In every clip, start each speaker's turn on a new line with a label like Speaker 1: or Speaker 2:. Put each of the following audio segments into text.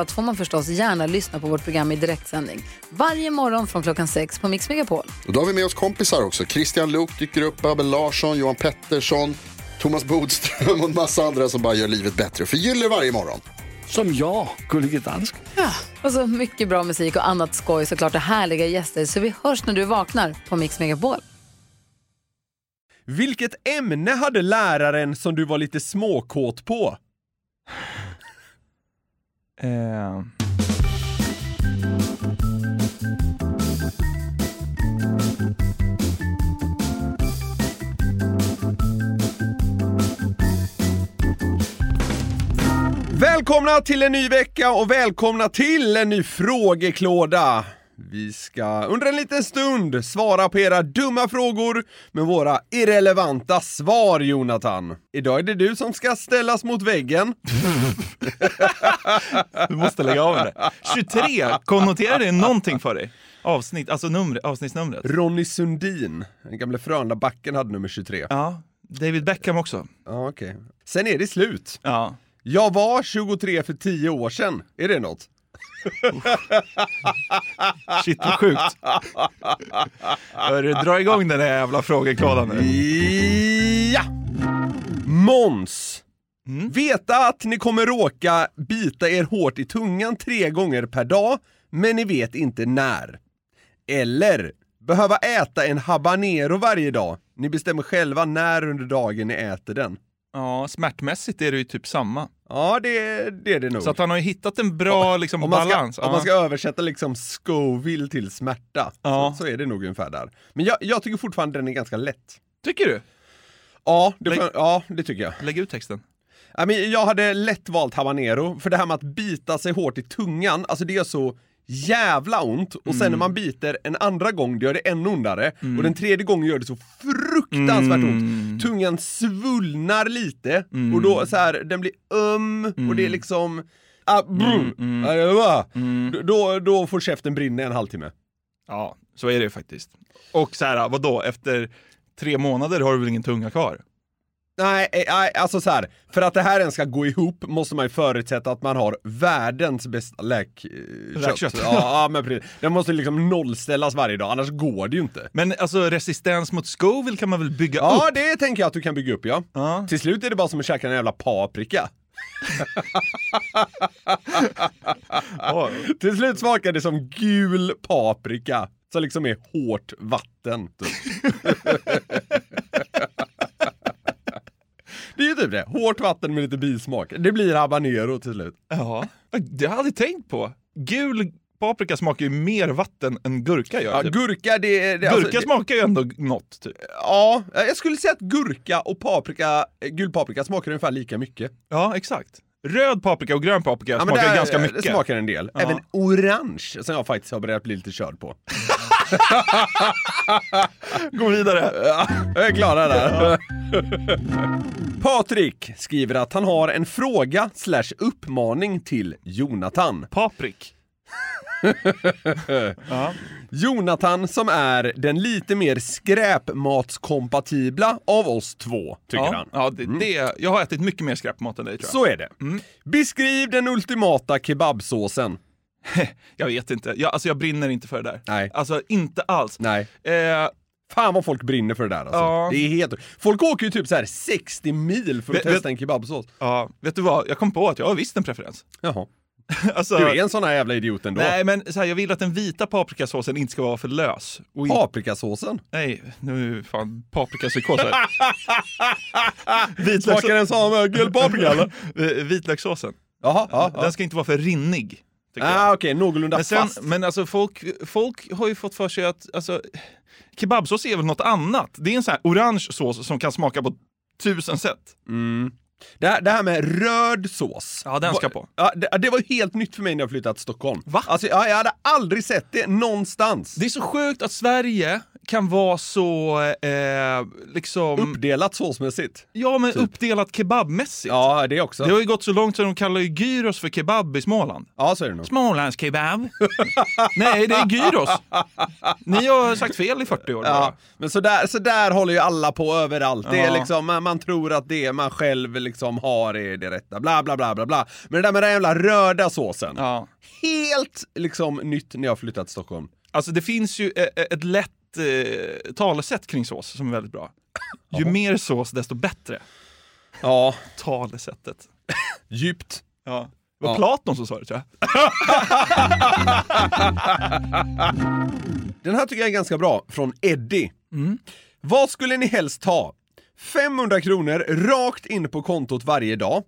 Speaker 1: allt får man förstås gärna lyssna på vårt program i direktsändning. Varje morgon från klockan sex på Mix Megapol.
Speaker 2: Och då har vi med oss kompisar också. Christian Luuk dyker upp, Abel Larsson, Johan Pettersson, Thomas Bodström och en massa andra som bara gör livet bättre och förgyller varje morgon.
Speaker 3: Som jag, Gullige Dansken.
Speaker 1: Och så mycket bra musik och annat skoj såklart och härliga gäster. Så vi hörs när du vaknar på Mix Megapol.
Speaker 4: Vilket ämne hade läraren som du var lite småkåt på?
Speaker 5: Eh,
Speaker 4: Välkomna till en ny vecka och välkomna till en ny frågeklåda! Vi ska under en liten stund svara på era dumma frågor med våra irrelevanta svar, Jonathan. Idag är det du som ska ställas mot väggen.
Speaker 5: du måste lägga av med det. 23, konnoterar det någonting för dig? Avsnitt, alltså numret, avsnittsnumret?
Speaker 4: Ronny Sundin, den gamle Frölunda-backen, hade nummer 23.
Speaker 5: Ja, David Beckham också.
Speaker 4: Ja, okej. Sen är det slut.
Speaker 5: Ja.
Speaker 4: Jag var 23 för 10 år sedan. Är det något?
Speaker 5: Shit vad sjukt. Hörru, dra igång den här jävla frågeklådan nu.
Speaker 4: Ja! Måns!
Speaker 5: Mm.
Speaker 4: Veta att ni kommer råka bita er hårt i tungan tre gånger per dag, men ni vet inte när. Eller behöva äta en habanero varje dag. Ni bestämmer själva när under dagen ni äter den.
Speaker 5: Ja, smärtmässigt är det ju typ samma.
Speaker 4: Ja, det, det är det nog.
Speaker 5: Så att han har ju hittat en bra liksom,
Speaker 4: Om man, ska,
Speaker 5: balans.
Speaker 4: om man ska översätta liksom Scoville till smärta,
Speaker 5: Ja.
Speaker 4: så, så är det nog ungefär där. Men jag, jag tycker fortfarande den är ganska lätt.
Speaker 5: Tycker du?
Speaker 4: Ja, det,
Speaker 5: Lägg-
Speaker 4: får- ja, det tycker jag.
Speaker 5: Lägg ut texten.
Speaker 4: Ja, men jag hade lätt valt habanero, för det här med att bita sig hårt i tungan, alltså det gör så jävla ont och sen när man biter en andra gång det gör det ännu ondare och den tredje gången gör det så fruktansvärt ont. Tungan svullnar lite och då så här, den blir öm och det är liksom ah, brum, Ah, det var. D- Då, då får käften brinna i en halvtimme.
Speaker 5: Ja, så är det ju faktiskt. Och så här, vadå, efter tre månader har du väl ingen tunga kvar?
Speaker 4: Nej, eh, nej, alltså så här. för att det här ens ska gå ihop måste man ju förutsätta att man har världens bästa läkkött.
Speaker 5: Läkkött.
Speaker 4: Ja, ja, men precis. Den måste liksom nollställas varje dag, annars går det ju inte.
Speaker 5: Men alltså resistens mot Scoville kan man väl bygga
Speaker 4: Ja,
Speaker 5: upp?
Speaker 4: det tänker jag att du kan bygga upp ja.
Speaker 5: Ja.
Speaker 4: Till slut är det bara som att käka en jävla paprika.
Speaker 5: Ja.
Speaker 4: Till slut smakar det som gul paprika, som liksom är hårt vatten. Typ. det är ju typ det, hårt vatten med lite bismak. Det blir habanero till slut.
Speaker 5: ja. Det har jag aldrig tänkt på. Gul paprika smakar ju mer vatten än gurka gör.
Speaker 4: Ja,
Speaker 5: typ.
Speaker 4: gurka det... det
Speaker 5: Gurka
Speaker 4: alltså, det-
Speaker 5: smakar ju ändå något, typ.
Speaker 4: Ja, eh, jag skulle säga att gurka och paprika, eh, gul paprika smakar ungefär lika mycket.
Speaker 5: Ja, exakt. Röd paprika och grön paprika
Speaker 4: Ja, men
Speaker 5: smakar
Speaker 4: där,
Speaker 5: ganska
Speaker 4: eh,
Speaker 5: mycket.
Speaker 4: Det smakar en del. Även orange, som jag faktiskt har börjat bli lite körd på.
Speaker 5: Gå vidare.
Speaker 4: Ja, jag är klara där. Patrik skriver att han har en fråga slash uppmaning till Jonathan.
Speaker 5: Paprik. ja.
Speaker 4: Jonathan som är den lite mer skräpmatskompatibla av oss två, tycker
Speaker 5: Ja.
Speaker 4: han. Mm.
Speaker 5: Ja, det, det, jag har ätit mycket mer skräpmat än dig tror jag.
Speaker 4: Så är det.
Speaker 5: Mm.
Speaker 4: Beskriv den ultimata kebabsåsen.
Speaker 5: Jag vet inte. Jag, alltså, jag brinner inte för det där.
Speaker 4: Nej.
Speaker 5: Alltså inte alls.
Speaker 4: Nej.
Speaker 5: Eh,
Speaker 4: Fan vad folk brinner för det där alltså.
Speaker 5: Ja.
Speaker 4: Det är helt... Folk åker ju typ så här 60 mil för att
Speaker 5: Vet-
Speaker 4: testa
Speaker 5: vet-
Speaker 4: en kebabsås.
Speaker 5: ja, vet du vad? Jag kom på att jag har visst en preferens.
Speaker 4: Jaha.
Speaker 5: Alltså,
Speaker 4: Du är en sån här jävla idiot ändå.
Speaker 5: Nej, men så här, jag vill att den vita paprikasåsen inte ska vara för lös. Och i-
Speaker 4: Paprikasåsen.
Speaker 5: Nej, nu fan paprikapsykos här. Vitlöks-
Speaker 4: Smakar den som ögel paprika eller?
Speaker 5: Eh, Vitlökssåsen.
Speaker 4: Jaha. Ja, ja.
Speaker 5: Den ska inte vara för rinnig. tycker jag.
Speaker 4: Ah, Okej, någorlunda
Speaker 5: Men, sen,
Speaker 4: fast.
Speaker 5: men alltså folk, folk har ju fått för sig att alltså, kebabsås är väl något annat. Det är en sån här orange sås som kan smaka på tusen sätt.
Speaker 4: Det här, det här med röd sås.
Speaker 5: Ja, den ska
Speaker 4: Va-
Speaker 5: på.
Speaker 4: Ja, det, det var ju helt nytt för mig när jag flyttade till Stockholm.
Speaker 5: Va?
Speaker 4: Alltså, ja, jag hade aldrig sett det någonstans.
Speaker 5: Det är så sjukt att Sverige kan vara så, eh, liksom...
Speaker 4: Uppdelat såsmässigt.
Speaker 5: ja, men uppdelat kebabmässigt.
Speaker 4: Ja, det också.
Speaker 5: Det har ju gått så långt så de kallar ju gyros för kebab i Småland.
Speaker 4: Ja, så är det nog.
Speaker 5: Smålandskebab. Nej, det är gyros. Ni har sagt fel i 40 år. bara.
Speaker 4: Ja, men så där, så där håller ju alla på överallt. Det är
Speaker 5: Ja.
Speaker 4: liksom, man, man tror att det man själv liksom har är det rätta, bla bla bla bla bla. Men det där med den jävla röda såsen.
Speaker 5: Ja.
Speaker 4: Helt liksom nytt när jag flyttat till Stockholm.
Speaker 5: Alltså det finns ju eh, ett lätt eh, talesätt kring sås som är väldigt bra. Ju mer sås desto bättre.
Speaker 4: Ja,
Speaker 5: Talesättet.
Speaker 4: djupt.
Speaker 5: Ja. Det var
Speaker 4: Ja.
Speaker 5: Platon som sa det tror jag.
Speaker 4: Den här tycker jag är ganska bra, från Eddie.
Speaker 5: Mm.
Speaker 4: Vad skulle ni helst ta? 500 kronor rakt in på kontot varje dag,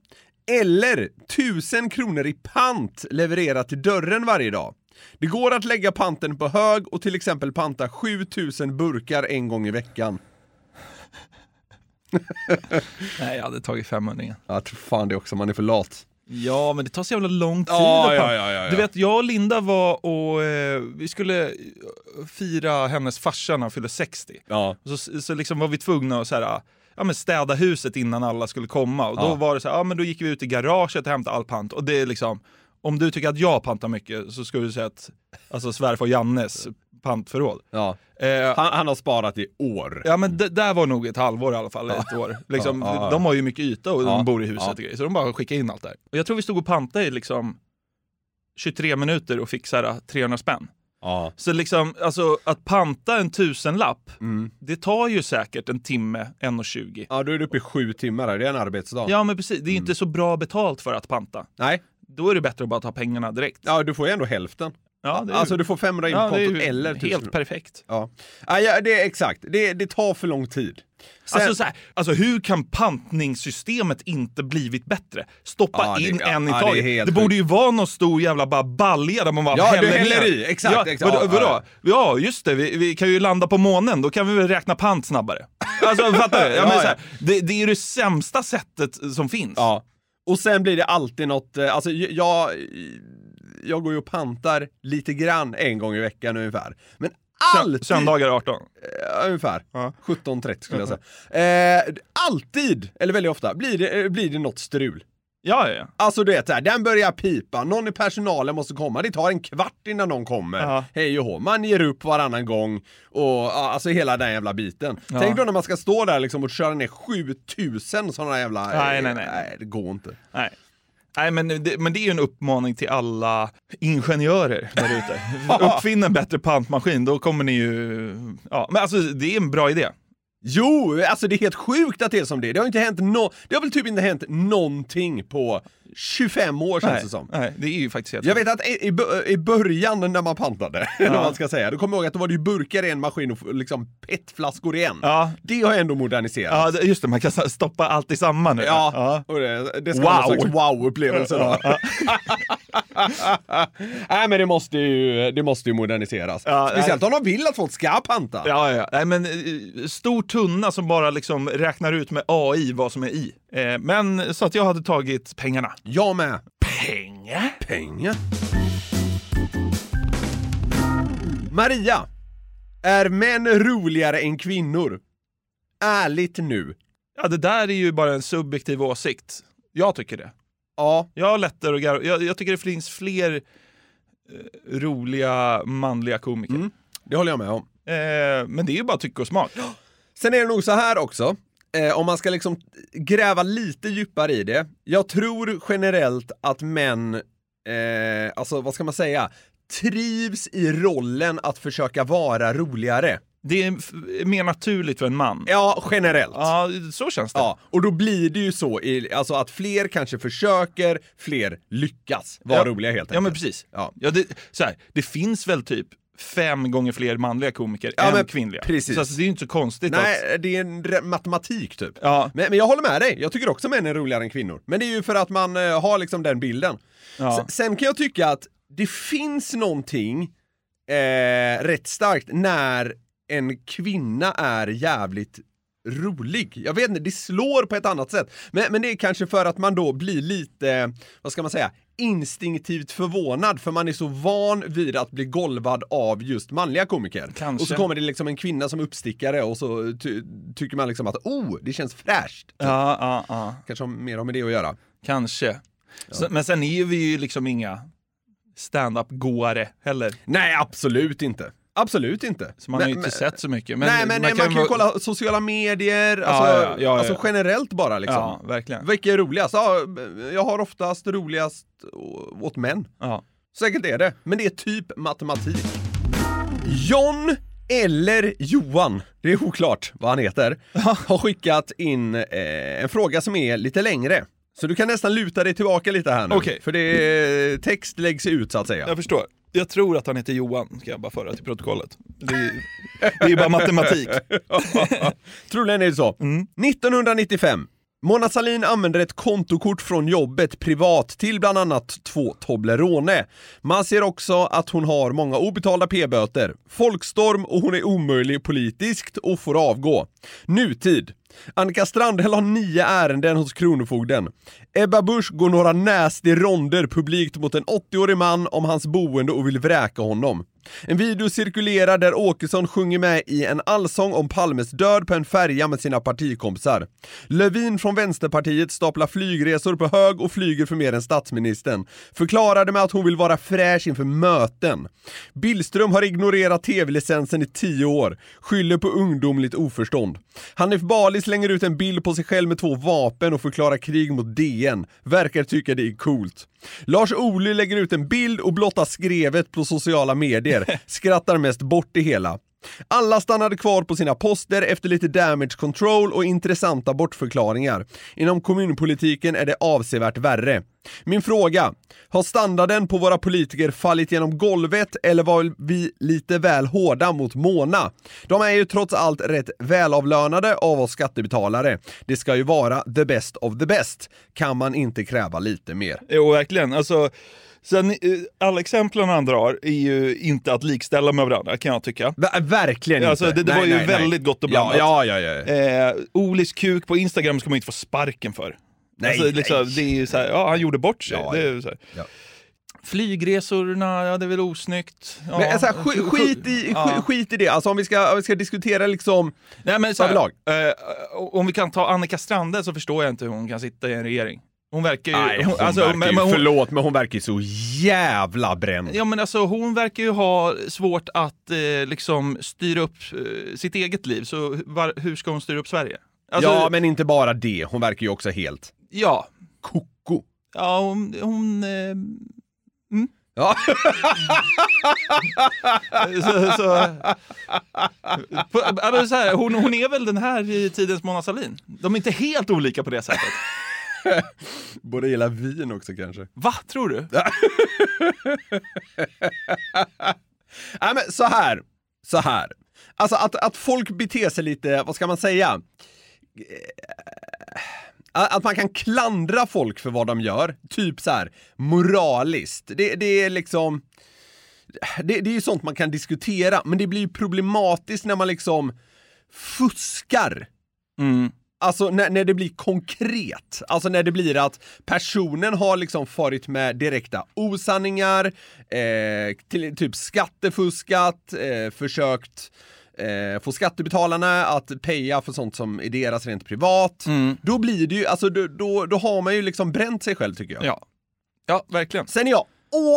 Speaker 4: eller 1000 kronor i pant levererat till dörren varje dag. Det går att lägga panten på hög och till exempel panta 7000 burkar en gång i veckan.
Speaker 5: Nej, jag hade tagit 500 igen.
Speaker 4: Jag tror fan det också, man är för lat.
Speaker 5: Ja, men det tar så jävla lång tid.
Speaker 4: Ja,
Speaker 5: att
Speaker 4: ja,
Speaker 5: pan-
Speaker 4: ja, ja, ja.
Speaker 5: Du vet, jag och Linda var och eh, vi skulle eh, fira hennes farsa när han fyllde 60.
Speaker 4: Ja.
Speaker 5: Och så, så liksom var vi tvungna att så här, ja, men städa huset innan alla skulle komma. Och då var det så här, ja, men då gick vi ut i garaget och hämtade all pant. Och det är liksom, om du tycker att jag pantar mycket så skulle du säga att alltså, svärfar Jannes pantförråd.
Speaker 4: Ja.
Speaker 5: Eh,
Speaker 4: Han, han har sparat i år.
Speaker 5: Ja men det där var nog ett halvår i alla fall, ett år. Liksom,
Speaker 4: Ja, ja, ja.
Speaker 5: De har ju mycket yta och
Speaker 4: Ja,
Speaker 5: de bor i huset
Speaker 4: ja.
Speaker 5: och grejer, så de bara skickade in allt där. Och jag tror vi stod och pantade i liksom 23 minuter och fixade 300 spänn.
Speaker 4: Ja.
Speaker 5: Så liksom, alltså att panta en tusenlapp,
Speaker 4: Mm.
Speaker 5: det tar ju säkert en timme, 1.20.
Speaker 4: ja, då är du uppe i sju timmar här, det är en arbetsdag.
Speaker 5: Ja men precis, det är ju
Speaker 4: Mm.
Speaker 5: inte så bra betalt för att panta.
Speaker 4: Nej,
Speaker 5: Då är det bättre att bara ta pengarna direkt.
Speaker 4: ja, du får ju ändå hälften.
Speaker 5: Ja, det är ju-
Speaker 4: Alltså du får 500 in på
Speaker 5: ja, det är
Speaker 4: kontot
Speaker 5: ju
Speaker 4: eller 1000
Speaker 5: Helt perfekt.
Speaker 4: Ja, ja, ja det är exakt. Det, det tar för lång tid. Sen,
Speaker 5: Alltså, så här, alltså hur kan pantningssystemet inte blivit bättre? Stoppa
Speaker 4: Ja, det-
Speaker 5: in
Speaker 4: ja,
Speaker 5: en i
Speaker 4: ja, det är
Speaker 5: taget. Det,
Speaker 4: helt
Speaker 5: borde
Speaker 4: sjukt.
Speaker 5: ju vara någon stor jävla bara balja där man bara
Speaker 4: Ja, du
Speaker 5: häller
Speaker 4: häller
Speaker 5: ner.
Speaker 4: i. Exakt,
Speaker 5: ja,
Speaker 4: exakt.
Speaker 5: Vadå?
Speaker 4: Ja,
Speaker 5: vadå?
Speaker 4: ja.
Speaker 5: Ja, just det. Vi, vi kan ju landa på månen. Då kan vi väl räkna pant snabbare. Alltså fattar du? Jag
Speaker 4: Ja,
Speaker 5: menar, så här,
Speaker 4: ja.
Speaker 5: det, det är ju det sämsta sättet som finns.
Speaker 4: ja. Och sen blir det alltid något, eh, alltså j- jag, jag går ju och pantar lite grann en gång i veckan ungefär. Men
Speaker 5: Sö-
Speaker 4: alltid,
Speaker 5: Söndagar 18.
Speaker 4: eh, ungefär,
Speaker 5: Ja.
Speaker 4: 17.30 skulle jag säga. Eh, alltid, eller väldigt ofta, blir det, eh, blir det något strul.
Speaker 5: Ja, ja, ja.
Speaker 4: Alltså du vet såhär, den börjar pipa, någon i personalen måste komma, det tar en kvart innan någon kommer.
Speaker 5: Ja.
Speaker 4: Hej och hå, man ger upp varannan gång och ja, alltså hela den jävla biten.
Speaker 5: Ja.
Speaker 4: Tänk då när man ska stå där liksom och köra ner 7000 sådana jävla...
Speaker 5: Nej, nej, nej.
Speaker 4: det går inte.
Speaker 5: Nej. Nej, men det, men det är ju en uppmaning till alla ingenjörer där ute. Uppfinn en bättre pantmaskin, då kommer ni ju... Ja, men alltså det är en bra idé.
Speaker 4: Jo, alltså det är helt sjukt att det är som det är. Det har inte hänt nå, Det har väl typ inte hänt någonting på 25 år känns
Speaker 5: nej,
Speaker 4: det som.
Speaker 5: Nej, det är ju faktiskt helt
Speaker 4: Jag vet att i, i, bö- i början när man pantade, eller vad man ska säga, då kommer jag ihåg att då var det ju burkar i en maskin och f- liksom petflaskor i en.
Speaker 5: Ja.
Speaker 4: Det har jag ändå moderniserat.
Speaker 5: Ja, det- just det, man kan så här stoppa allt i samma nu.
Speaker 4: Ja, Och det, det ska
Speaker 5: Wow.
Speaker 4: vara en slags wow-upplevelse då. Nej men det måste ju, det måste ju moderniseras.
Speaker 5: Ja,
Speaker 4: Speciellt om de vill att folk ska panta.
Speaker 5: Ja, ja. Nej, men eh, stor tunna som bara liksom räknar ut med AI vad som är i. Eh, men så att jag hade tagit pengarna.
Speaker 4: Jag med.
Speaker 5: Pengar?
Speaker 4: Pengar. Maria. Är män roligare än kvinnor? Ärligt nu.
Speaker 5: Ja, det där är ju bara en subjektiv åsikt. Jag tycker det.
Speaker 4: Ja,
Speaker 5: Jag har lättare att garva. Jag, jag tycker det finns fler eh, roliga manliga komiker.
Speaker 4: det håller jag med om.
Speaker 5: Eh, men det är ju bara tycke och smak.
Speaker 4: Sen är det nog så här också, eh, om man ska liksom gräva lite djupare i det. Jag tror generellt att män, eh, alltså vad ska man säga, trivs i rollen att försöka vara roligare.
Speaker 5: Det är f- mer naturligt för en man.
Speaker 4: Ja, generellt.
Speaker 5: Ja, så känns det.
Speaker 4: Ja, och då blir det ju så i, alltså att fler kanske försöker, fler lyckas vara
Speaker 5: Ja.
Speaker 4: roliga helt enkelt.
Speaker 5: Ja, men precis.
Speaker 4: Ja.
Speaker 5: det, så här, det finns väl typ fem gånger fler manliga komiker
Speaker 4: Ja,
Speaker 5: än
Speaker 4: men
Speaker 5: kvinnliga.
Speaker 4: precis.
Speaker 5: Så alltså, det är ju inte så konstigt att...
Speaker 4: Nej, det är en re- matematik typ.
Speaker 5: Ja.
Speaker 4: Men, men jag håller med dig, jag tycker också män är roligare än kvinnor. Men det är ju för att man eh, har liksom den bilden.
Speaker 5: Ja.
Speaker 4: S- Sen kan jag tycka att det finns någonting eh, rätt starkt när en kvinna är jävligt rolig. Jag vet inte, det slår på ett annat sätt. Men, men det är kanske för att man då blir lite, vad ska man säga, instinktivt förvånad för man är så van vid att bli golvad av just manliga komiker.
Speaker 5: Kanske.
Speaker 4: Och så kommer det liksom en kvinna som uppstickare och så ty- tycker man liksom att oh, det känns fräscht.
Speaker 5: Ja, ja, ja.
Speaker 4: Kanske har mer med det att göra.
Speaker 5: Kanske. Så, men sen är vi ju liksom inga stand-up-gåare heller.
Speaker 4: Nej, absolut inte. Absolut inte.
Speaker 5: Så man har ju inte sett så mycket. Men
Speaker 4: nej, men man kan, ju
Speaker 5: vara-
Speaker 4: kolla sociala medier, alltså,
Speaker 5: ja, ja, ja.
Speaker 4: alltså generellt bara liksom.
Speaker 5: Ja, verkligen.
Speaker 4: Vilka är roligast? Ja, jag har oftast roligast å- åt män.
Speaker 5: Ja.
Speaker 4: Säkert är det, men det är typ matematik. John eller Johan, det är oklart vad han heter, har skickat in eh, en fråga som är lite längre. Så du kan nästan luta dig tillbaka lite här nu,
Speaker 5: Okej.
Speaker 4: för det är, text läggs ut så att säga.
Speaker 5: Jag förstår. Jag tror att han heter Johan, ska jag bara föra till protokollet. Det är, det är bara matematik.
Speaker 4: Troligen är det så. 1995. Mona Sahlin använder ett kontokort från jobbet privat till bland annat två Toblerone. Man ser också att hon har många obetalda p-böter, folkstorm och hon är omöjlig politiskt och får avgå. Nutid. Annika Strandhäll har nio ärenden hos Kronofogden. Ebba Busch går några nasty ronder publikt mot en 80-årig man om hans boende och vill vräka honom. En video cirkulerar där Åkesson sjunger med i en allsång om Palmes död på en färja med sina partikompisar. Lövin från Vänsterpartiet staplar flygresor på hög och flyger för mer än statsministern. Förklarade med att hon vill vara fräsch inför möten. Billström har ignorerat tv-licensen i tio år. Skyller på ungdomligt oförstånd. Hanif Bali slänger ut en bild på sig själv med två vapen och förklarar krig mot DN. Verkar tycka det är coolt. Lars Ohly lägger ut en bild och blottar skrevet på sociala medier. Skrattar mest bort det hela. Alla stannade kvar på sina poster efter lite damage control och intressanta bortförklaringar. Inom kommunpolitiken är det avsevärt värre. Min fråga. Har standarden på våra politiker fallit genom golvet eller var vi lite väl hårda mot Mona? De är ju trots allt rätt välavlönade av oss skattebetalare. Det ska ju vara the best of the best. Kan man inte kräva lite mer?
Speaker 5: Jo, verkligen. Alltså, sen, eh, alla exemplen han drar är ju inte att likställa med varandra, kan jag tycka.
Speaker 4: Ver- verkligen
Speaker 5: Alltså,
Speaker 4: inte.
Speaker 5: det- det var ju väldigt gott och blandat.
Speaker 4: Ja, ja, ja. ja.
Speaker 5: Eh, Olis kuk på Instagram ska man inte få sparken för.
Speaker 4: Nej,
Speaker 5: alltså, liksom,
Speaker 4: nej.
Speaker 5: Det är ju så här, ja, han gjorde bort sig.
Speaker 4: Ja,
Speaker 5: det är ju så här.
Speaker 4: ja.
Speaker 5: Flygresorna, ja, det är väl osnyggt. Ja.
Speaker 4: Men, alltså, sk- skit, i, sk- skit i det, alltså om vi ska, om vi ska diskutera liksom...
Speaker 5: Nej, men så här,
Speaker 4: Överlag.
Speaker 5: eh, om vi kan ta Annika Strande så förstår jag inte hur hon kan sitta i en regering. Hon verkar ju... alltså, men- men hon-
Speaker 4: förlåt, men hon verkar ju så jävla bränd.
Speaker 5: Ja men alltså hon verkar ju ha svårt att eh, liksom styra upp eh, sitt eget liv, så var, hur ska hon styra upp Sverige? Alltså,
Speaker 4: ja, men inte bara det, hon verkar ju också helt
Speaker 5: ja.
Speaker 4: koko.
Speaker 5: Ja, hon... hon eh,
Speaker 4: Ja.
Speaker 5: så, så, på, ja, men så här, hon, hon är väl den här i tidens Mona Sahlin? De är inte helt olika på det sättet.
Speaker 4: Borde gilla vin också kanske.
Speaker 5: Va, tror du?
Speaker 4: Nej men så här, så här. Alltså att, att folk beter sig lite, vad ska man säga? Eh, Att man kan klandra folk för vad de gör, typ så här moraliskt. Det, det är liksom... Det, det är ju sånt man kan diskutera, men det blir ju problematiskt när man liksom fuskar.
Speaker 5: Mm.
Speaker 4: Alltså när, när det blir konkret, alltså när det blir att personen har liksom farit med direkta osanningar, eh, till, typ skattefuskat, eh, försökt eh, få skattebetalarna att peja för sånt som är deras rent privat. Då blir det ju, alltså då, då, då har man ju liksom bränt sig själv tycker jag.
Speaker 5: Ja. ja, verkligen.
Speaker 4: Sen är jag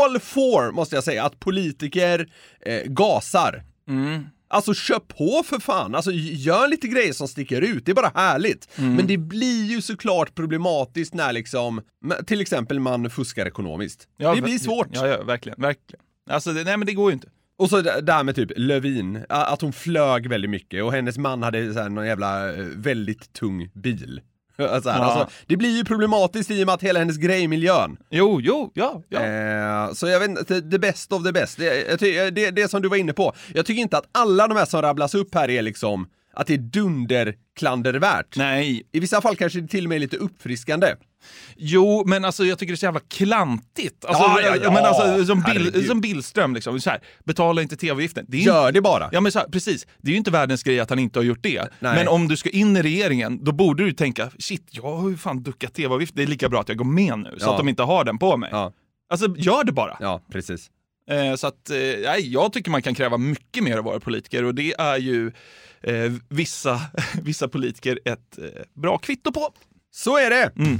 Speaker 4: all for, måste jag säga, att politiker eh, gasar.
Speaker 5: Mm.
Speaker 4: Alltså kör på för fan, alltså gör lite grejer som sticker ut, det är bara härligt.
Speaker 5: Mm.
Speaker 4: Men det blir ju såklart problematiskt när liksom, men- till exempel man fuskar ekonomiskt.
Speaker 5: Ja,
Speaker 4: det blir
Speaker 5: ver-
Speaker 4: svårt.
Speaker 5: Ja, ja, verkligen. verkligen. Alltså, det, nej men det går ju inte.
Speaker 4: Och så det det här med typ Lövin, a- att hon flög väldigt mycket och hennes man hade så här någon jävla eh, väldigt tung bil. Så här, alltså, det blir ju problematiskt i och med att hela hennes grej i miljön.
Speaker 5: Jo, jo, ja. ja.
Speaker 4: Eh, så jag vet inte, the best of the best. Det, jag ty- det, det som du var inne på. Jag tycker inte att alla de här som rabblas upp här är liksom att det är dunderklandervärt.
Speaker 5: Nej,
Speaker 4: I vissa fall kanske det till och med är lite uppfriskande.
Speaker 5: Jo, men alltså, jag tycker det är så jävla klantigt. Alltså,
Speaker 4: Ja, ja, ja.
Speaker 5: Men alltså, som, Bill,
Speaker 4: Herregud.
Speaker 5: som Billström, liksom, så här, betala inte tv-avgiften. Det är ju-
Speaker 4: Gör det bara.
Speaker 5: Ja, men så här, precis. Det är ju inte världens grej att han inte har gjort det.
Speaker 4: Nej.
Speaker 5: Men om du ska in i regeringen, då borde du tänka shit, jag har ju fan duckat tv-avgift. Det är lika bra att jag går med nu, så
Speaker 4: Ja.
Speaker 5: att de inte har den på mig.
Speaker 4: Ja.
Speaker 5: Alltså, gör det bara.
Speaker 4: Ja, precis.
Speaker 5: Eh, så att, eh, nej, jag tycker man kan kräva mycket mer av våra politiker och det är ju eh, vissa, vissa politiker ett eh, bra kvitto på.
Speaker 4: Så är det!
Speaker 5: Mm.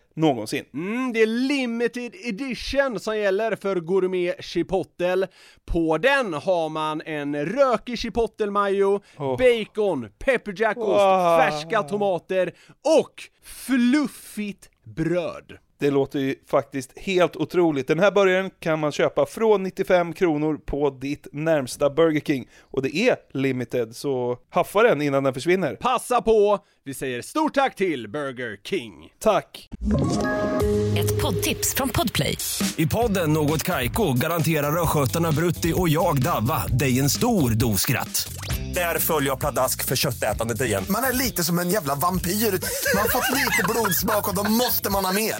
Speaker 6: någonsin.
Speaker 7: Mm, det är limited edition som gäller för gourmet chipotle. På den har man en rökig chipotle-majo, bacon, pepperjackost,
Speaker 6: Wow.
Speaker 7: färska tomater och fluffigt bröd.
Speaker 6: Det låter ju faktiskt helt otroligt. Den här burgaren kan man köpa från 95 kronor på ditt närmsta Burger King. Och det är limited, så haffa den innan den försvinner.
Speaker 7: Passa på! Vi säger stort tack till Burger King.
Speaker 6: Tack!
Speaker 8: Ett poddtips från Podplay.
Speaker 9: I podden Något Kaiko garanterar östgötarna Brutti och jag, Davva, dig en stor dos skratt. Där följer jag pladask för köttätandet igen.
Speaker 10: Man är lite som en jävla vampyr. Man har fått lite blodsmak och då måste man ha mer.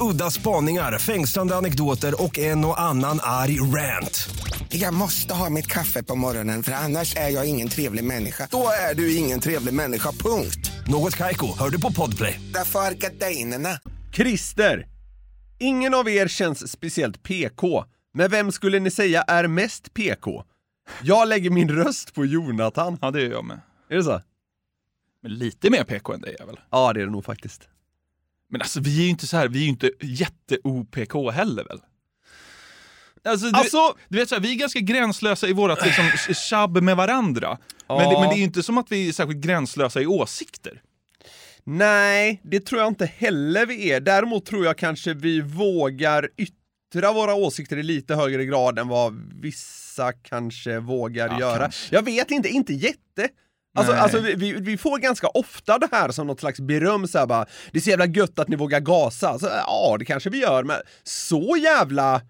Speaker 9: Udda spaningar, fängslande anekdoter och en och annan arg rant.
Speaker 10: Jag måste ha mitt kaffe på morgonen för annars är jag ingen trevlig människa. Då är du ingen trevlig människa, punkt.
Speaker 9: Något Kaiko, hör du på Podplay.
Speaker 10: Därför är gardinerna.
Speaker 4: Christer! Ingen av er känns speciellt PK, men vem skulle ni säga är mest PK? Jag lägger min röst på Jonathan.
Speaker 5: Ja, det gör jag med.
Speaker 4: Är det så?
Speaker 5: Men lite mer PK än dig är väl?
Speaker 4: Ja, det är det nog faktiskt.
Speaker 5: Men alltså vi är ju inte så här, vi är ju inte jätte-OPK heller väl? Alltså, du,
Speaker 4: Alltså-
Speaker 5: du vet så här, vi är ganska gränslösa i vårat liksom, sh- tjabb med varandra. Men, det, men det är ju inte som att vi är särskilt gränslösa i åsikter.
Speaker 4: Nej, det tror jag inte heller vi är. Däremot tror jag kanske vi vågar yttra våra åsikter i lite högre grad än vad vissa kanske vågar göra. Jag vet inte, inte jätte. Alltså,
Speaker 5: Nej.
Speaker 4: alltså vi, vi, vi får ganska ofta det här som något slags beröm så här bara, det är så jävla gött att ni vågar gasa. Så, ja, det kanske vi gör, men så jävla eh,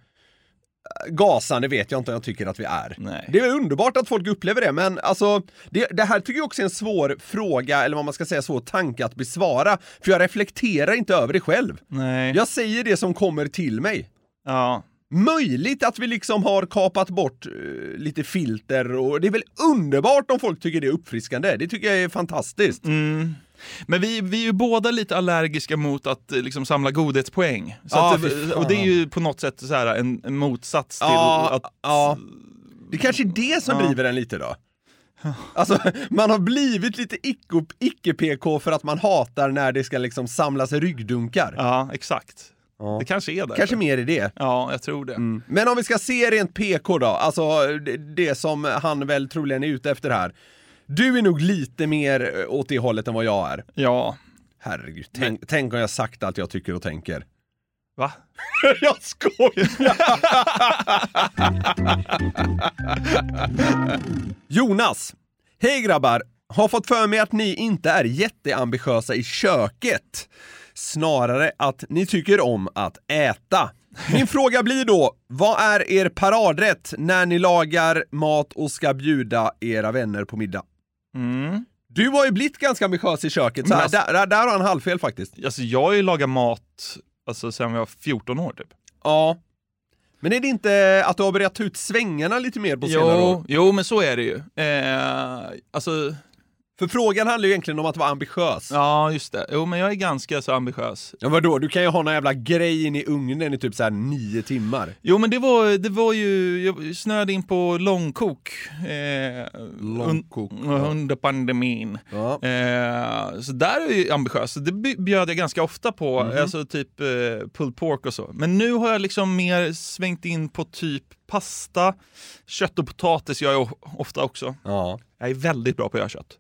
Speaker 4: gasande vet jag inte om jag tycker att vi är.
Speaker 5: Nej.
Speaker 4: Det är underbart att folk upplever det, men alltså, det, det här tycker jag också är en svår fråga, eller vad man ska säga, svår tanke att besvara. För jag reflekterar inte över det själv.
Speaker 5: Nej. Ja.
Speaker 4: Jag säger det som kommer till mig.
Speaker 5: ja.
Speaker 4: Möjligt att vi liksom har kapat bort eh, lite filter och det är väl underbart om folk tycker det är uppfriskande. Det tycker jag är fantastiskt.
Speaker 5: Mm. Men vi, vi är ju båda lite allergiska mot att eh, liksom, samla godhetspoäng. Så
Speaker 4: Ja,
Speaker 5: att,
Speaker 4: fy fan.
Speaker 5: och det är ju på något sätt så här, en, en motsats till
Speaker 4: Ja,
Speaker 5: att...
Speaker 4: ja. Det kanske är det som driver en lite då. Alltså, man har blivit lite icke- icke-PK för att man hatar när det ska liksom samlas ryggdunkar.
Speaker 5: Ja, exakt. Det kanske är där.
Speaker 4: Kanske mer i det.
Speaker 5: Ja, jag tror det.
Speaker 4: Men om vi ska se rent PK då, alltså det- det som han väl troligen är ute efter här. Du är nog lite mer eh, åt det hållet än vad jag är.
Speaker 5: Ja.
Speaker 4: Herregud, tänk, tänk om jag sagt allt jag tycker och tänker.
Speaker 5: Va?
Speaker 4: jag skojar! Jonas! Hej grabbar! Har fått för mig att ni inte är jätteambitiösa i köket. Snarare att ni tycker om att äta. Min fråga blir då, vad är er paradrätt när ni lagar mat och ska bjuda era vänner på middag?
Speaker 5: Mm.
Speaker 4: Du har ju blivit ganska ambitiös i köket, så här,
Speaker 5: Men
Speaker 4: där,
Speaker 5: alltså-
Speaker 4: där, där har han halvfel faktiskt.
Speaker 5: Alltså jag har ju lagat mat alltså, sen jag var 14 år typ.
Speaker 4: Ja. Men är det inte att du har börjat ta ut svängarna lite mer på senare år?
Speaker 5: jo men så är det ju. Eh, alltså,
Speaker 4: För frågan handlar ju egentligen om att vara ambitiös.
Speaker 5: Ja, just det. Jo, men jag är ganska så ambitiös.
Speaker 4: Ja, vadå? Du kan ju ha någon jävla grej in i ugnen i typ så här nio timmar.
Speaker 5: Jo, men det var, det var ju, jag snöade in på långkok. Eh,
Speaker 4: Långkok,
Speaker 5: un, Under pandemin. Eh, så där är jag ju ambitiös. Så Det by- bjöd jag ganska ofta på, alltså typ eh, pulled pork och så. Men nu har jag liksom mer svängt in på typ pasta, kött och potatis gör jag o- ofta också.
Speaker 4: Ja.
Speaker 5: Jag är väldigt bra på att göra kött.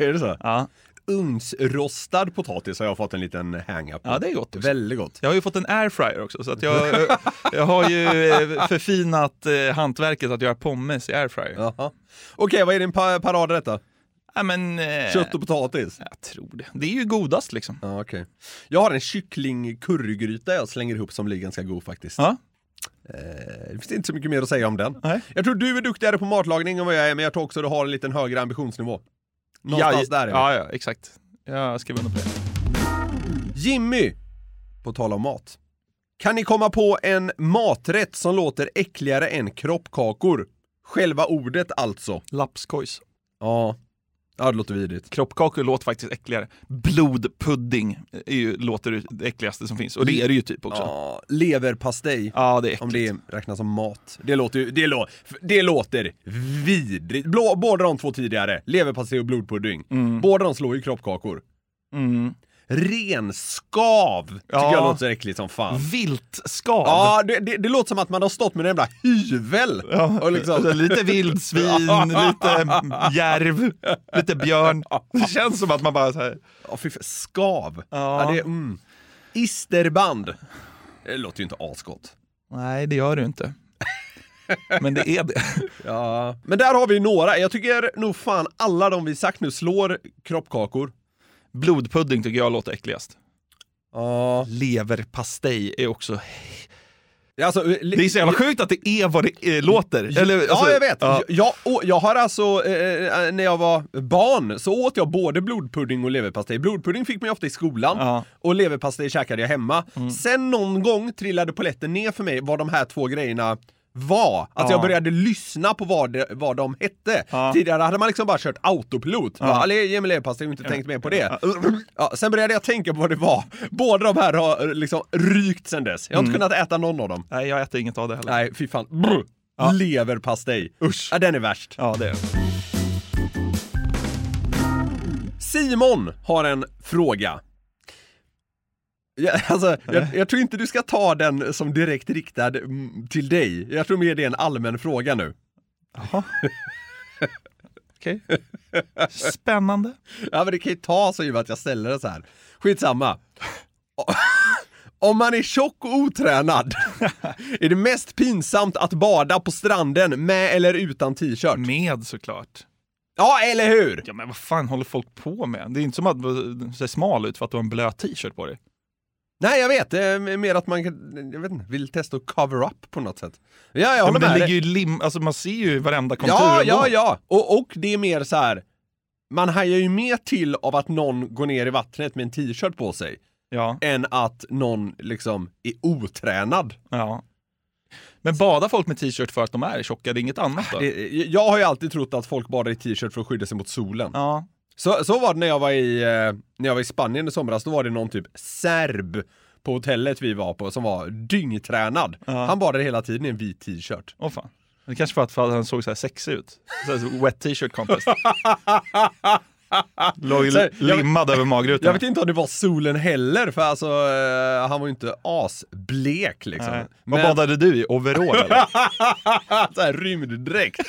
Speaker 4: Är det så?
Speaker 5: Ja.
Speaker 4: Ugnsrostad potatis har jag fått en liten hang-up på.
Speaker 5: Ja, det är gott också.
Speaker 4: Väldigt gott.
Speaker 5: Jag har ju fått en airfryer också, så att jag, jag har ju eh, förfinat eh, hantverket att göra pommes i airfryer.
Speaker 4: Jaha. Okej, vad är din pa- paradrätt då?
Speaker 5: Ja, men, eh,
Speaker 4: Kött och potatis?
Speaker 5: Jag tror det. Det är ju godast liksom.
Speaker 4: Ja, okej. Jag har en kyckling-currygryta jag slänger ihop som blir ganska god faktiskt.
Speaker 5: Ja.
Speaker 4: Eh, Det finns inte så mycket mer att säga om den.
Speaker 5: Nej.
Speaker 4: Jag tror du är duktigare på matlagning än vad jag är, men jag tror också att du har en liten högre ambitionsnivå. Någonstans där är vi.
Speaker 5: Ja, ja, exakt. Jag skriver under på det.
Speaker 4: Jimmy, på tal om mat. Kan ni komma på en maträtt som låter äckligare än kroppkakor? Själva ordet alltså.
Speaker 5: Lapskojs.
Speaker 4: Ja, ja det låter vidrigt.
Speaker 5: Kroppkakor låter faktiskt äckligare. Blodpudding eh, är ju, låter det äckligaste som finns. Och det är det ju typ också. Ja,
Speaker 4: Ja, leverpastej.
Speaker 5: det är äckligt.
Speaker 4: Om det räknas som mat. Det låter ju, det, lå, det låter vidrigt. Blå, båda de två tidigare, leverpastej och blodpudding. Båda de slår ju kroppkakor.
Speaker 5: Mm.
Speaker 4: Renskav tycker
Speaker 5: Ja.
Speaker 4: jag låter äckligt som fan.
Speaker 5: Viltskav.
Speaker 4: Ja, det, det, det låter som att man har stått med en jävla hyvel.
Speaker 5: Ja,
Speaker 4: Och liksom-
Speaker 5: alltså, Lite vildsvin, lite järv, lite björn. Det känns som att man bara så här,
Speaker 4: Ja, fy fan. Skav.
Speaker 5: Ja.
Speaker 4: Ja, det, mm. Isterband. Det låter ju inte asgott.
Speaker 5: nej det gör du inte. Men det är det.
Speaker 4: Ja. Men där har vi några. Jag tycker nog fan alla de vi sagt nu slår kroppkakor.
Speaker 5: Blodpudding tycker jag låter äckligast.
Speaker 4: Ja.
Speaker 5: Leverpastej är också...
Speaker 4: Alltså,
Speaker 5: Det är så jävla sjukt att det är vad det eh, låter. Eller, alltså,
Speaker 4: ja, jag vet.
Speaker 5: ja.
Speaker 4: Jag, jag, å- jag har alltså, eh, när jag var barn så åt jag både blodpudding och leverpastej. Blodpudding fick man ju ofta i skolan
Speaker 5: Ja. Mm.
Speaker 4: och leverpastej käkade jag hemma. Sen någon gång trillade polletten ner för mig vad de här två grejerna var. Att
Speaker 5: Ja.
Speaker 4: jag började lyssna på vad, det, vad de hette.
Speaker 5: Ja.
Speaker 4: Tidigare hade man liksom bara kört autopilot. Ja. Bara, "Ah, ge mig leverpastej och inte tänkt mer på det. Ja, sen började jag tänka på vad det var. Båda de här har eh, liksom rykt sen dess. Jag har
Speaker 5: Mm.
Speaker 4: inte kunnat äta någon av dem.
Speaker 5: Nej, jag äter inget av det heller.
Speaker 4: Nej, fy fan. Brr. Leverpastej. Usch. Ja, den är värst.
Speaker 5: Ja, det är det.
Speaker 4: Simon har en fråga. Jag, alltså, jag, jag tror inte du ska ta den som direkt riktad mm, till dig. Jag tror mer det är en allmän fråga nu.
Speaker 5: Okej. Spännande.
Speaker 4: Ja, men det kan ju ta så i och med att jag ställer det så här. Skitsamma. Om man är tjock och otränad, är det mest pinsamt att bada på stranden med eller utan t-shirt?
Speaker 5: Med såklart.
Speaker 4: Ja, eller hur?
Speaker 5: Ja, men vad fan håller folk på med? Det är inte som att du ser smal ut för att du har en blöt t-shirt på dig.
Speaker 4: Nej, jag vet. Det är mer att man kan- jag vet inte, vill testa att cover up på något sätt. Ja, jag
Speaker 5: Ja, men
Speaker 4: håller
Speaker 5: det
Speaker 4: med
Speaker 5: ligger
Speaker 4: dig.
Speaker 5: ju lim, alltså man ser ju varenda kontur
Speaker 4: Ja,
Speaker 5: ändå.
Speaker 4: ja, ja. Och, och det är mer så här. Man hajar ju mer till av att någon går ner i vattnet med en t-shirt på sig
Speaker 5: ja.
Speaker 4: än att någon liksom är otränad.
Speaker 5: Ja. Men badar folk med t-shirt för att de är tjocka? Det är inget annat då?
Speaker 4: Det, Eh, jag har ju alltid trott att folk badar i t-shirt för att skydda sig mot solen.
Speaker 5: Ja.
Speaker 4: Så, så var det när jag var, i, eh, när jag var i Spanien i somras, då var det någon typ serb på hotellet vi var på som var dyngtränad. Han badade hela tiden i en vit t-shirt.
Speaker 5: Åh fan. Det kanske var att för att han såg så här sexig ut. Så här, så wet t-shirt contest. Låg
Speaker 4: Så här,
Speaker 5: li-
Speaker 4: jag vet-
Speaker 5: limmad över magrutan.
Speaker 4: Jag vet inte om det var solen heller, för alltså, eh, han var ju inte asblek liksom.
Speaker 5: Nej. Vad
Speaker 4: Men-
Speaker 5: badade du i? Overall eller?
Speaker 4: så här rymddräkt.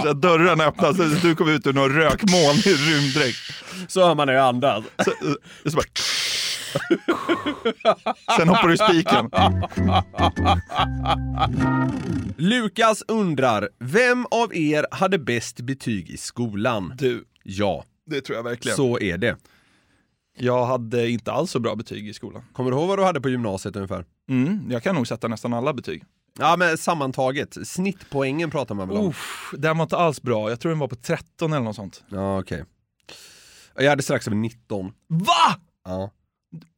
Speaker 5: Så här, Dörrarna öppnas och du kom ut ur någon rökmoln i rymddräkt.
Speaker 4: Så hör man när jag andas.
Speaker 5: Så, eh, så bara... Sen hoppar du i spiken.
Speaker 4: Lukas undrar, vem av er hade bäst betyg i skolan?
Speaker 5: Du,
Speaker 4: Ja,
Speaker 5: det tror jag verkligen.
Speaker 4: så är det.
Speaker 5: Jag hade inte alls så bra betyg i skolan.
Speaker 4: Kommer du ihåg vad du hade på gymnasiet ungefär?
Speaker 5: Mm, jag kan nog sätta nästan alla betyg.
Speaker 4: Ja, men sammantaget. Snittpoängen pratar man väl om?
Speaker 5: Uff, den var inte alls bra. Jag tror den var på 13 eller något sånt.
Speaker 4: Ja, okej. Jag hade strax över 19.
Speaker 5: Va?
Speaker 4: Ja.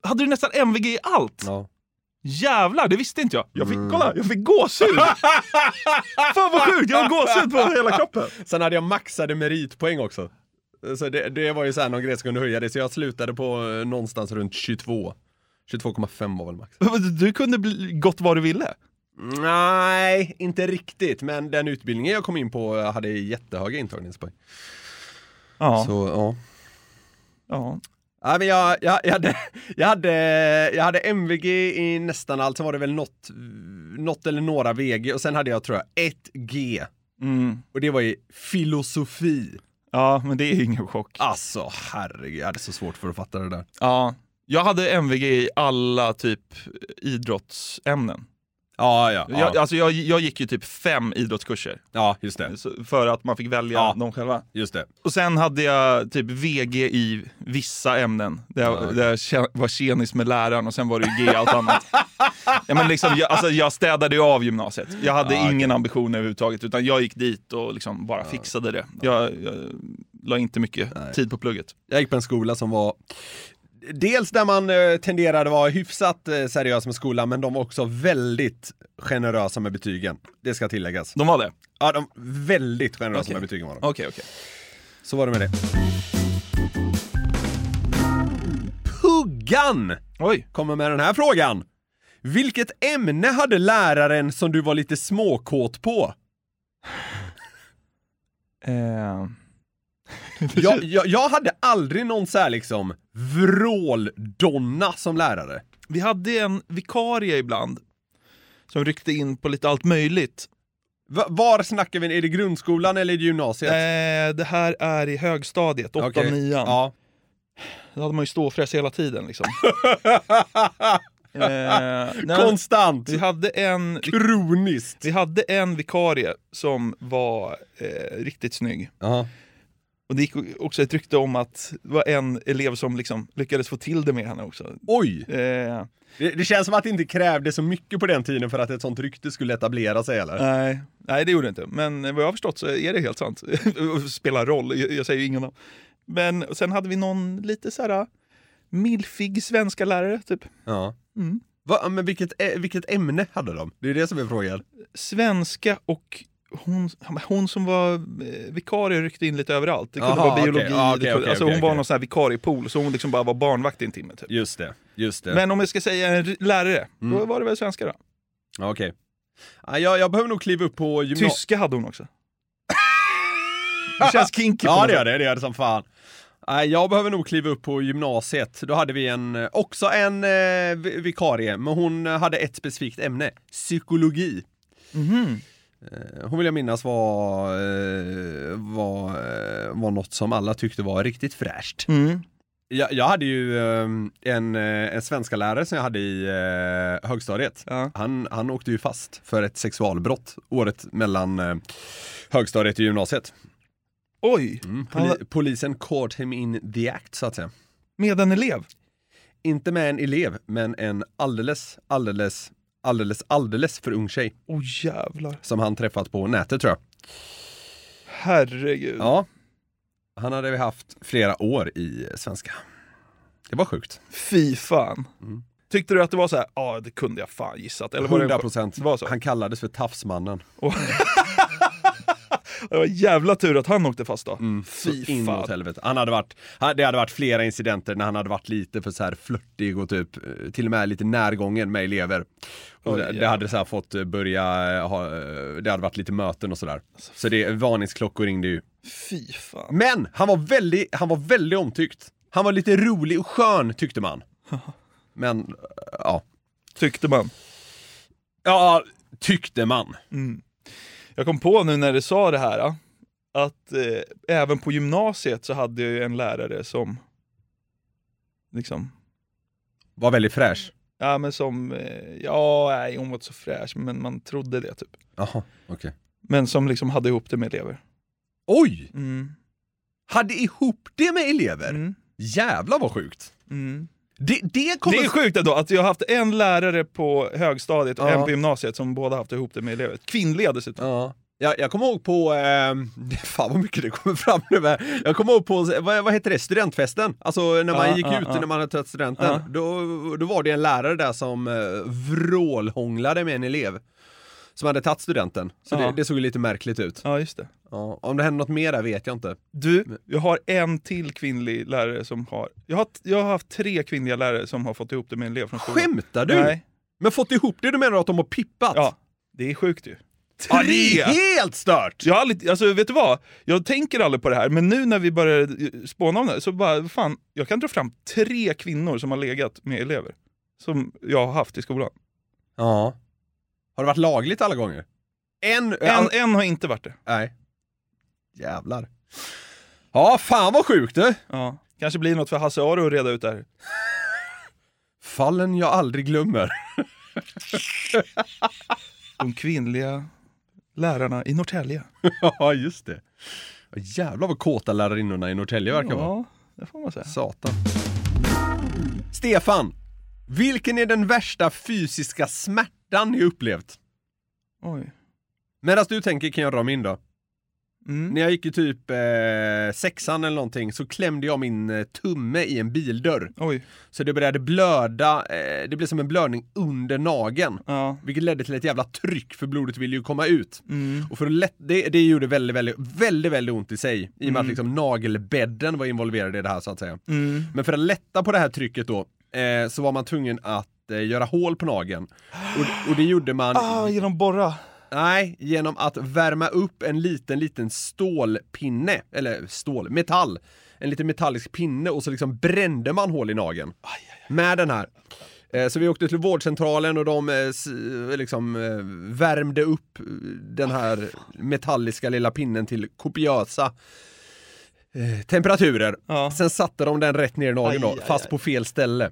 Speaker 5: Hade du nästan MVG i allt?
Speaker 4: ja.
Speaker 5: Jävlar, det visste inte jag. Jag fick, kolla, jag fick gåshud! Fan vad sjukt, jag har gåshud på hela kroppen.
Speaker 4: Sen hade jag maxade meritpoäng också. Så det, det var ju så här någon grej som kunde höja det, så jag slutade på eh, någonstans runt 22. 22,5 var väl max.
Speaker 5: Du kunde bli gott vad du ville.
Speaker 4: Nej, inte riktigt, men den utbildningen jag kom in på eh, hade jättehöga intagningspoäng.
Speaker 5: Ja.
Speaker 4: Så, ja.
Speaker 5: ja.
Speaker 4: Ja, men jag, jag, jag, hade, jag, hade, jag hade MVG i nästan allt, sen var det väl något, något eller några VG och sen hade jag tror jag ett G.
Speaker 5: Mm.
Speaker 4: Och det var i filosofi.
Speaker 5: Ja, men det är ju ingen chock.
Speaker 4: Alltså herregud, jag hade så svårt för att fatta det där.
Speaker 5: Ja. Jag hade MVG i alla typ idrottsämnen.
Speaker 4: Ja, ja, ja.
Speaker 5: Jag, alltså jag, jag gick ju typ fem idrottskurser
Speaker 4: ja just det.
Speaker 5: så- för att man fick välja
Speaker 4: Ja.
Speaker 5: dem själva.
Speaker 4: Just det.
Speaker 5: Och sen hade jag typ VG i vissa ämnen, där jag, där jag tje- var tjenis med läraren och sen var det ju G i allt annat. Ja, men liksom, jag, alltså, jag städade ju av gymnasiet. Jag hade ingen ambition överhuvudtaget, utan jag gick dit och liksom bara fixade det. Jag, jag la inte mycket tid på plugget.
Speaker 4: Jag gick på en skola som var Dels där man eh, tenderade att vara hyfsat eh, seriös med skolan, men de var också väldigt generösa med betygen. Det ska tilläggas.
Speaker 5: De var det?
Speaker 4: Ja, de väldigt generösa
Speaker 5: Okej.
Speaker 4: med betygen var de.
Speaker 5: Okej, okej.
Speaker 4: Så var det med det. Puggan
Speaker 5: Oj.
Speaker 4: kommer med den här frågan. Vilket ämne hade läraren som du var lite småkåt på?
Speaker 5: Eh,
Speaker 4: Jag, jag, jag hade aldrig någon så här liksom vråldonna som lärare.
Speaker 5: Vi hade en vikarie ibland som ryckte in på lite allt möjligt.
Speaker 4: Va- Var snackar vi? Är det grundskolan eller är det gymnasiet?
Speaker 5: Eh, det här är i högstadiet, 8
Speaker 4: Okej.
Speaker 5: nian.
Speaker 4: Ja.
Speaker 5: Då hade man ju ståfräs hela tiden liksom. eh, nej, men
Speaker 4: Konstant!
Speaker 5: vi hade en...
Speaker 4: Kroniskt!
Speaker 5: Vi hade en vikarie som var eh, riktigt snygg.
Speaker 4: Ja.
Speaker 5: Och det gick också ett rykte om att det var en elev som liksom lyckades få till det med henne också.
Speaker 4: Oj!
Speaker 5: Eh,
Speaker 4: Det, det känns som att det inte krävde så mycket på den tiden för att ett sånt rykte skulle etablera sig eller?
Speaker 5: nej, nej, det gjorde det inte. Men vad jag har förstått så är det helt sant. Spelar roll, jag, jag säger ju ingen namn. Men sen hade vi någon lite så här milfig svenska lärare typ.
Speaker 4: Ja.
Speaker 5: Mm.
Speaker 4: Va, men vilket, ä- vilket ämne hade de? Det är det som är frågan.
Speaker 5: Svenska och hon, hon som var eh, vikarie ryckte in lite överallt. Det kunde
Speaker 4: Aha,
Speaker 5: vara biologi,
Speaker 4: okej. Ja, okej,
Speaker 5: det kunde,
Speaker 4: okej,
Speaker 5: alltså
Speaker 4: okej,
Speaker 5: hon var
Speaker 4: okej.
Speaker 5: någon sån här vikariepool så hon liksom bara var barnvakt i en timme typ.
Speaker 4: Just det, just det. Mm.
Speaker 5: Men om jag ska säga en r- lärare, då var det väl svenska då?
Speaker 4: Ja, Okej. Ja, jag, jag behöver nog kliva upp på gymnasiet.
Speaker 5: Tyska hade hon också. Det känns kinky.
Speaker 4: Ja, det gör det. Det gör det som fan. Nej, jag behöver nog kliva upp på gymnasiet. Då hade vi en, också en eh, vi- vikarie, men hon eh, hade ett specifikt ämne. Psykologi. Eh, Hon vill jag minnas var, eh, var, eh, var något som alla tyckte var riktigt fräscht.
Speaker 5: Mm.
Speaker 4: Jag, jag hade ju eh, en, eh, en svenska lärare som jag hade i eh, högstadiet.
Speaker 5: Ja.
Speaker 4: Han, han åkte ju fast för ett sexualbrott året mellan eh, högstadiet och gymnasiet.
Speaker 5: Oj,
Speaker 4: Mm. Poli-
Speaker 5: Han-
Speaker 4: Polisen caught him in the act, så att säga.
Speaker 5: med en elev.
Speaker 4: Inte med en elev, men en alldeles, alldeles, alldeles, alldeles för ung tjej
Speaker 5: Åh oh, jävlar.
Speaker 4: som han träffat på nätet
Speaker 5: Uh.
Speaker 4: tror jag.
Speaker 5: Herregud.
Speaker 4: Ja. Han hade vi haft flera år i svenska. Det var sjukt.
Speaker 5: Fy fan.
Speaker 4: Mm.
Speaker 5: Tyckte du att det var så här, ja det kunde jag fan gissat. Eller var det en-
Speaker 4: 100 procent.
Speaker 5: Det var så.
Speaker 4: Han kallades för Tafsmannen.
Speaker 5: Det var jävla tur att han åkte fast då. Fy
Speaker 4: Mm. Så in
Speaker 5: fan.
Speaker 4: åt helvete. Han hade varit, han- det hade varit flera incidenter när han hade varit lite för så här flörtig och typ eh, till och med lite närgången med elever. Och
Speaker 5: Oj,
Speaker 4: det, det
Speaker 5: jävlar.
Speaker 4: hade så här fått eh, börja, eh, ha, eh, det hade varit lite möten och sådär.
Speaker 5: Alltså,
Speaker 4: Så det, varningsklockor ringde ju.
Speaker 5: Fy fan.
Speaker 4: Men han var väldigt, han var väldigt omtyckt. Han var lite rolig och skön tyckte man. Men, eh, ja.
Speaker 5: Tyckte man.
Speaker 4: Ja, tyckte man.
Speaker 5: Mm. Jag kom på nu när du sa det här ja, att eh, även på gymnasiet så hade jag ju en lärare som liksom
Speaker 4: Var väldigt fräsch.
Speaker 5: Ja men som, eh, ja nej, hon var inte så fräsch men man trodde det typ.
Speaker 4: Jaha, okej.
Speaker 5: Men som liksom hade ihop det med elever.
Speaker 4: Oj!
Speaker 5: Mm.
Speaker 4: Hade ihop det med elever?
Speaker 5: Mm.
Speaker 4: Jävlar vad sjukt.
Speaker 5: Mm.
Speaker 4: Det, det kommer...
Speaker 5: Det är sjukt ändå att jag har haft en lärare på högstadiet och
Speaker 4: Ja.
Speaker 5: en på gymnasiet som båda haft ihop det med elever. Kvinnliga dessutom.
Speaker 4: Ja. Jag, jag kommer ihåg på, eh, fan vad mycket det kommer fram nu här. Jag kommer ihåg på, vad, vad heter det, studentfesten? Alltså när man
Speaker 5: Ja,
Speaker 4: gick
Speaker 5: ja,
Speaker 4: ut
Speaker 5: ja.
Speaker 4: när man hade tagit studenten.
Speaker 5: Ja.
Speaker 4: Då, då var det en lärare där som eh, vrålhånglade med en elev. Som hade tagit studenten. Så
Speaker 5: Ja.
Speaker 4: det, det såg ju lite märkligt ut.
Speaker 5: Ja, just det.
Speaker 4: Ja, om det hände något mer där vet jag inte.
Speaker 5: Du, jag har en till kvinnlig lärare som har... Jag har, jag har haft tre kvinnliga lärare som har fått ihop det med en elev från skolan.
Speaker 4: Skämtar du?
Speaker 5: Nej.
Speaker 4: Men fått ihop det, du menar att de har pippat?
Speaker 5: Ja, det är sjukt ju.
Speaker 4: Ja, det är helt stört!
Speaker 5: Jag har aldrig, alltså vet du vad? Jag tänker aldrig på det här, men nu när vi börjar eh, spåna om det här, så bara, fan, jag kan dra fram tre kvinnor som har legat med elever. Som jag har haft i skolan.
Speaker 4: Ja. Har det varit lagligt alla gånger? Alltså, En,
Speaker 5: En, en har inte varit det.
Speaker 4: Nej. Jävlar. Ja, fan vad sjukt du!
Speaker 5: Ja. Kanske blir något för Hasse Aro att reda ut det här.
Speaker 4: Fallen jag aldrig glömmer. Ah.
Speaker 5: De kvinnliga lärarna i Norrtälje.
Speaker 4: ja, just det. Ja, Jävlar vad kåta lärarinnorna i Norrtälje verkar vara.
Speaker 5: Ja, det får man säga.
Speaker 4: Satan. Stefan! Vilken är den värsta fysiska smärtan ni upplevt?
Speaker 5: Oj.
Speaker 4: Medan du tänker kan jag dra min då.
Speaker 5: Mm.
Speaker 4: När jag gick i typ eh, sexan eller någonting så klämde jag min eh, tumme i en bildörr.
Speaker 5: Oj.
Speaker 4: Så det började blöda, eh, det blev som en blödning under nageln.
Speaker 5: Ja.
Speaker 4: Vilket ledde till ett jävla tryck för blodet ville ju komma ut.
Speaker 5: Mm.
Speaker 4: Och för att lätt, det, det gjorde väldigt, väldigt, väldigt, väldigt ont i sig. I och med att liksom nagelbädden var involverad i det här så att säga.
Speaker 5: Mm.
Speaker 4: Men för att lätta på det här trycket då, eh, så var man tvungen att eh, göra hål på nageln. Och, och det gjorde man
Speaker 5: Ah, genom borra.
Speaker 4: Nej, genom att värma upp en liten, liten stålpinne, eller stål, metall. En liten metallisk pinne och så liksom brände man hål i nageln. Med den här. Eh, Så vi åkte till vårdcentralen och de eh, s- liksom eh, värmde upp eh, den här metalliska lilla pinnen till kopiösa eh, temperaturer.
Speaker 5: Ja.
Speaker 4: Sen satte de den rätt ner i nageln då,
Speaker 5: Aj, aj,
Speaker 4: fast
Speaker 5: aj.
Speaker 4: på fel ställe.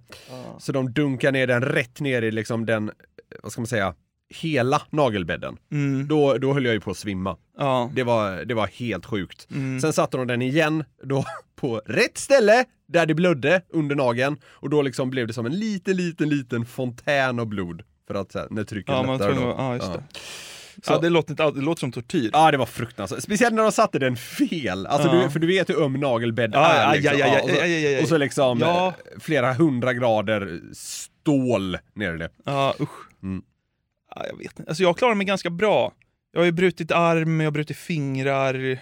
Speaker 4: Så de dunkar ner den rätt ner i liksom den, eh, vad ska man säga, hela nagelbädden.
Speaker 5: Mm.
Speaker 4: Då, då höll jag ju på att svimma.
Speaker 5: Ja.
Speaker 4: Det var, det var helt sjukt.
Speaker 5: Mm.
Speaker 4: Sen satte de den igen då på rätt ställe där det blödde under nageln och då liksom blev det som en liten, liten, liten fontän av blod. För att så här, när trycket
Speaker 5: Ja, man
Speaker 4: lättade
Speaker 5: tror
Speaker 4: då.
Speaker 5: nog- ja, just det.
Speaker 4: Så- Ah,
Speaker 5: Ja, det, låter inte, all- det låter som tortyr.
Speaker 4: Ja, det var fruktansvärt. Speciellt när de satte den fel. Alltså,
Speaker 5: Ja.
Speaker 4: du, för du vet hur öm nagelbädd
Speaker 5: Ja,
Speaker 4: är.
Speaker 5: ja,
Speaker 4: Liksom.
Speaker 5: ja, ja,
Speaker 4: och, så,
Speaker 5: ja, ja, ja, ja.
Speaker 4: och så liksom
Speaker 5: Ja.
Speaker 4: eh, flera hundra grader stål ner i det.
Speaker 5: Ja, usch.
Speaker 4: Mm.
Speaker 5: Ja, jag vet inte. Alltså jag klarar mig ganska bra. Jag har ju brutit arm, jag har brutit fingrar, jag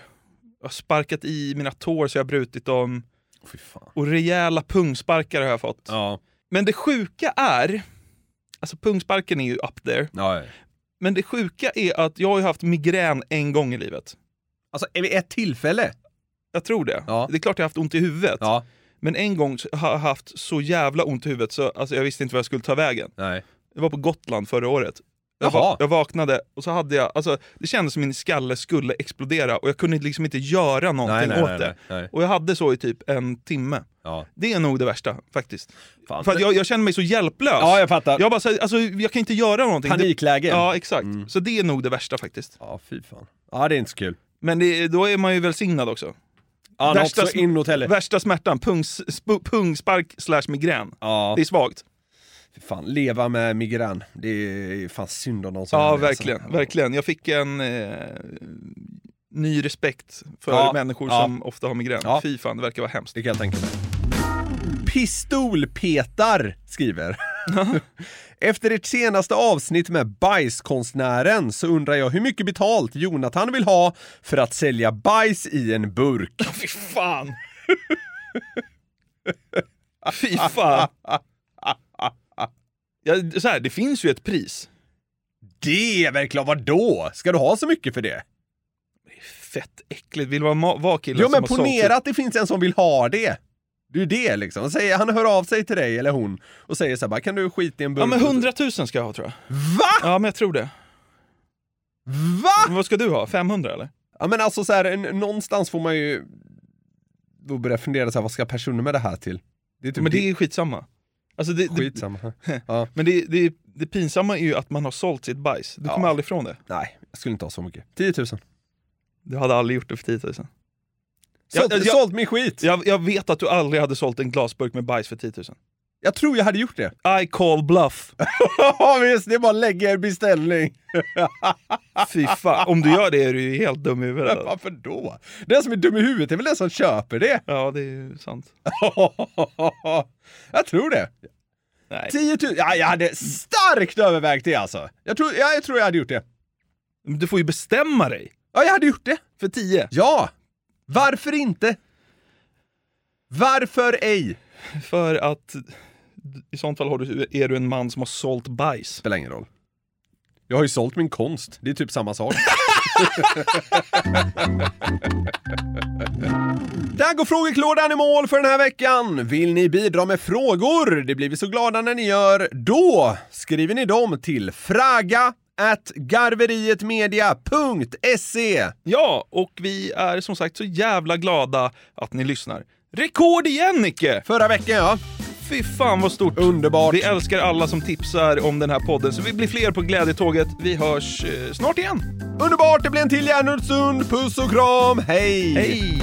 Speaker 5: har sparkat i mina tår så jag har brutit dem.
Speaker 4: Åh, Fy fan.
Speaker 5: Och rejäla pungsparkar har jag fått.
Speaker 4: Ja.
Speaker 5: Men det sjuka är, alltså pungsparken är ju up there,
Speaker 4: ja. ja.
Speaker 5: men det sjuka är att jag har ju haft migrän en gång i livet.
Speaker 4: Alltså, vid ett tillfälle.
Speaker 5: Jag tror det.
Speaker 4: Ja.
Speaker 5: Det är klart jag har haft ont i huvudet.
Speaker 4: Ja.
Speaker 5: Men en gång så har jag haft så jävla ont i huvudet så alltså, jag visste inte vad jag skulle ta vägen.
Speaker 4: Nej.
Speaker 5: Jag var på Gotland förra året. Jag,
Speaker 4: Jaha.
Speaker 5: va- jag vaknade och så hade jag, alltså, det kändes som min skalle skulle explodera och jag kunde liksom inte göra
Speaker 4: Nej,
Speaker 5: någonting
Speaker 4: nej,
Speaker 5: åt
Speaker 4: nej,
Speaker 5: det.
Speaker 4: nej, nej.
Speaker 5: Och jag hade så i typ en timme.
Speaker 4: Ja.
Speaker 5: Det är nog det värsta faktiskt.
Speaker 4: Fan.
Speaker 5: För att jag, jag känner mig så hjälplös.
Speaker 4: Ja, jag fattar.
Speaker 5: Jag bara, så, här, alltså, jag kan inte göra någonting.
Speaker 4: Panikläge. Mm.
Speaker 5: Det, ja, exakt. Så det är nog det värsta faktiskt.
Speaker 4: Ja, fy fan. Ja, det är inte så kul.
Speaker 5: Men det, då är man ju välsignad också.
Speaker 4: Ja,
Speaker 5: Värsta
Speaker 4: Värsta
Speaker 5: sm-
Speaker 4: inåt heller.
Speaker 5: Värsta smärtan, pungs, sp- pungspark slash migrän.
Speaker 4: Ja,
Speaker 5: Det är svagt.
Speaker 4: fy fan. Leva med migrän. Det är fan synd om någon som
Speaker 5: Ja,
Speaker 4: gör det,
Speaker 5: verkligen.
Speaker 4: alltså.
Speaker 5: verkligen. Jag fick en eh, ny respekt för
Speaker 4: Ja,
Speaker 5: människor
Speaker 4: ja.
Speaker 5: som ofta har migrän.
Speaker 4: Ja.
Speaker 5: Fy fan, det verkar vara hemskt.
Speaker 4: Det kan jag tänka mig. Pistolpetar skriver. Efter ert senaste avsnitt med bajskonstnären så undrar jag hur mycket betalt Jonathan vill ha för att sälja bajs i en burk.
Speaker 5: Fy fan! Fy fan! Ja, så här, det finns ju ett pris.
Speaker 4: Det är verkligen vadå? Ska du ha så mycket för det?
Speaker 5: Fett äckligt. Vill du vara, ma- vara killen
Speaker 4: Jo
Speaker 5: som
Speaker 4: men
Speaker 5: har sålt
Speaker 4: ponera att det finns en som vill ha det. Det är ju det liksom. Han Säger, han hör av sig till dig eller hon och säger så här, bara, kan du skita i en burk?
Speaker 5: Ja men 100 000 ska jag ha tror jag.
Speaker 4: Va?
Speaker 5: Ja men jag tror det.
Speaker 4: Va?
Speaker 5: Men vad ska du ha? 500 eller?
Speaker 4: Ja men alltså så här, en- någonstans får man ju då börja fundera så här, vad ska personer med det här till? Det är typ
Speaker 5: Men det är ju skitsamma. Alltså det, det,
Speaker 4: skitsamma. ja.
Speaker 5: men det, det, det pinsamma är ju att man har sålt sitt bajs. Du kommer aldrig ifrån det.
Speaker 4: Nej, jag skulle inte ha så mycket. 10 000. Sålt,
Speaker 5: Du hade aldrig gjort det för 10 000. Jag, jag, alltså
Speaker 4: sålt min skit!
Speaker 5: jag, jag vet att du aldrig hade sålt en glasburk med bajs för 10 000.
Speaker 4: Jag tror jag hade gjort det.
Speaker 5: I call bluff.
Speaker 4: Ja visst, det är bara att lägga en beställning.
Speaker 5: Fy fan, om du gör det är du ju helt dum i huvudet. alltså.
Speaker 4: Men varför då? Den som är dum i huvudet är väl den som köper det?
Speaker 5: Ja, det är ju sant.
Speaker 4: jag tror det.
Speaker 5: Nej.
Speaker 4: 10 000, ja, jag hade starkt övervägt det alltså. Jag tror, ja, jag tror jag hade gjort det.
Speaker 5: Men Du får ju bestämma dig
Speaker 4: Ja, jag hade gjort det.
Speaker 5: för 10.
Speaker 4: Ja! Varför inte? Varför ej?
Speaker 5: För att i sånt fall har du, är du en man som har sålt bajs.
Speaker 4: Spelar ingen roll. Jag har ju sålt min konst, det är typ samma sak. Där går frågeklådan i mål för den här veckan. Vill ni bidra med frågor? Det blir vi så glada när ni gör. Då skriver ni dem till fraga at garverietmedia.se.
Speaker 5: Ja, och vi är som sagt så jävla glada att ni lyssnar. Rekord igen Nicke!
Speaker 4: Förra veckan ja,
Speaker 5: Fy fan vad stort!
Speaker 4: underbart.
Speaker 5: Vi älskar alla som tipsar om den här podden, så vi blir fler på Glädjetåget. Vi hörs eh, snart igen.
Speaker 4: Underbart, det blir en till järnhundsstund. Puss och kram,
Speaker 5: Hej!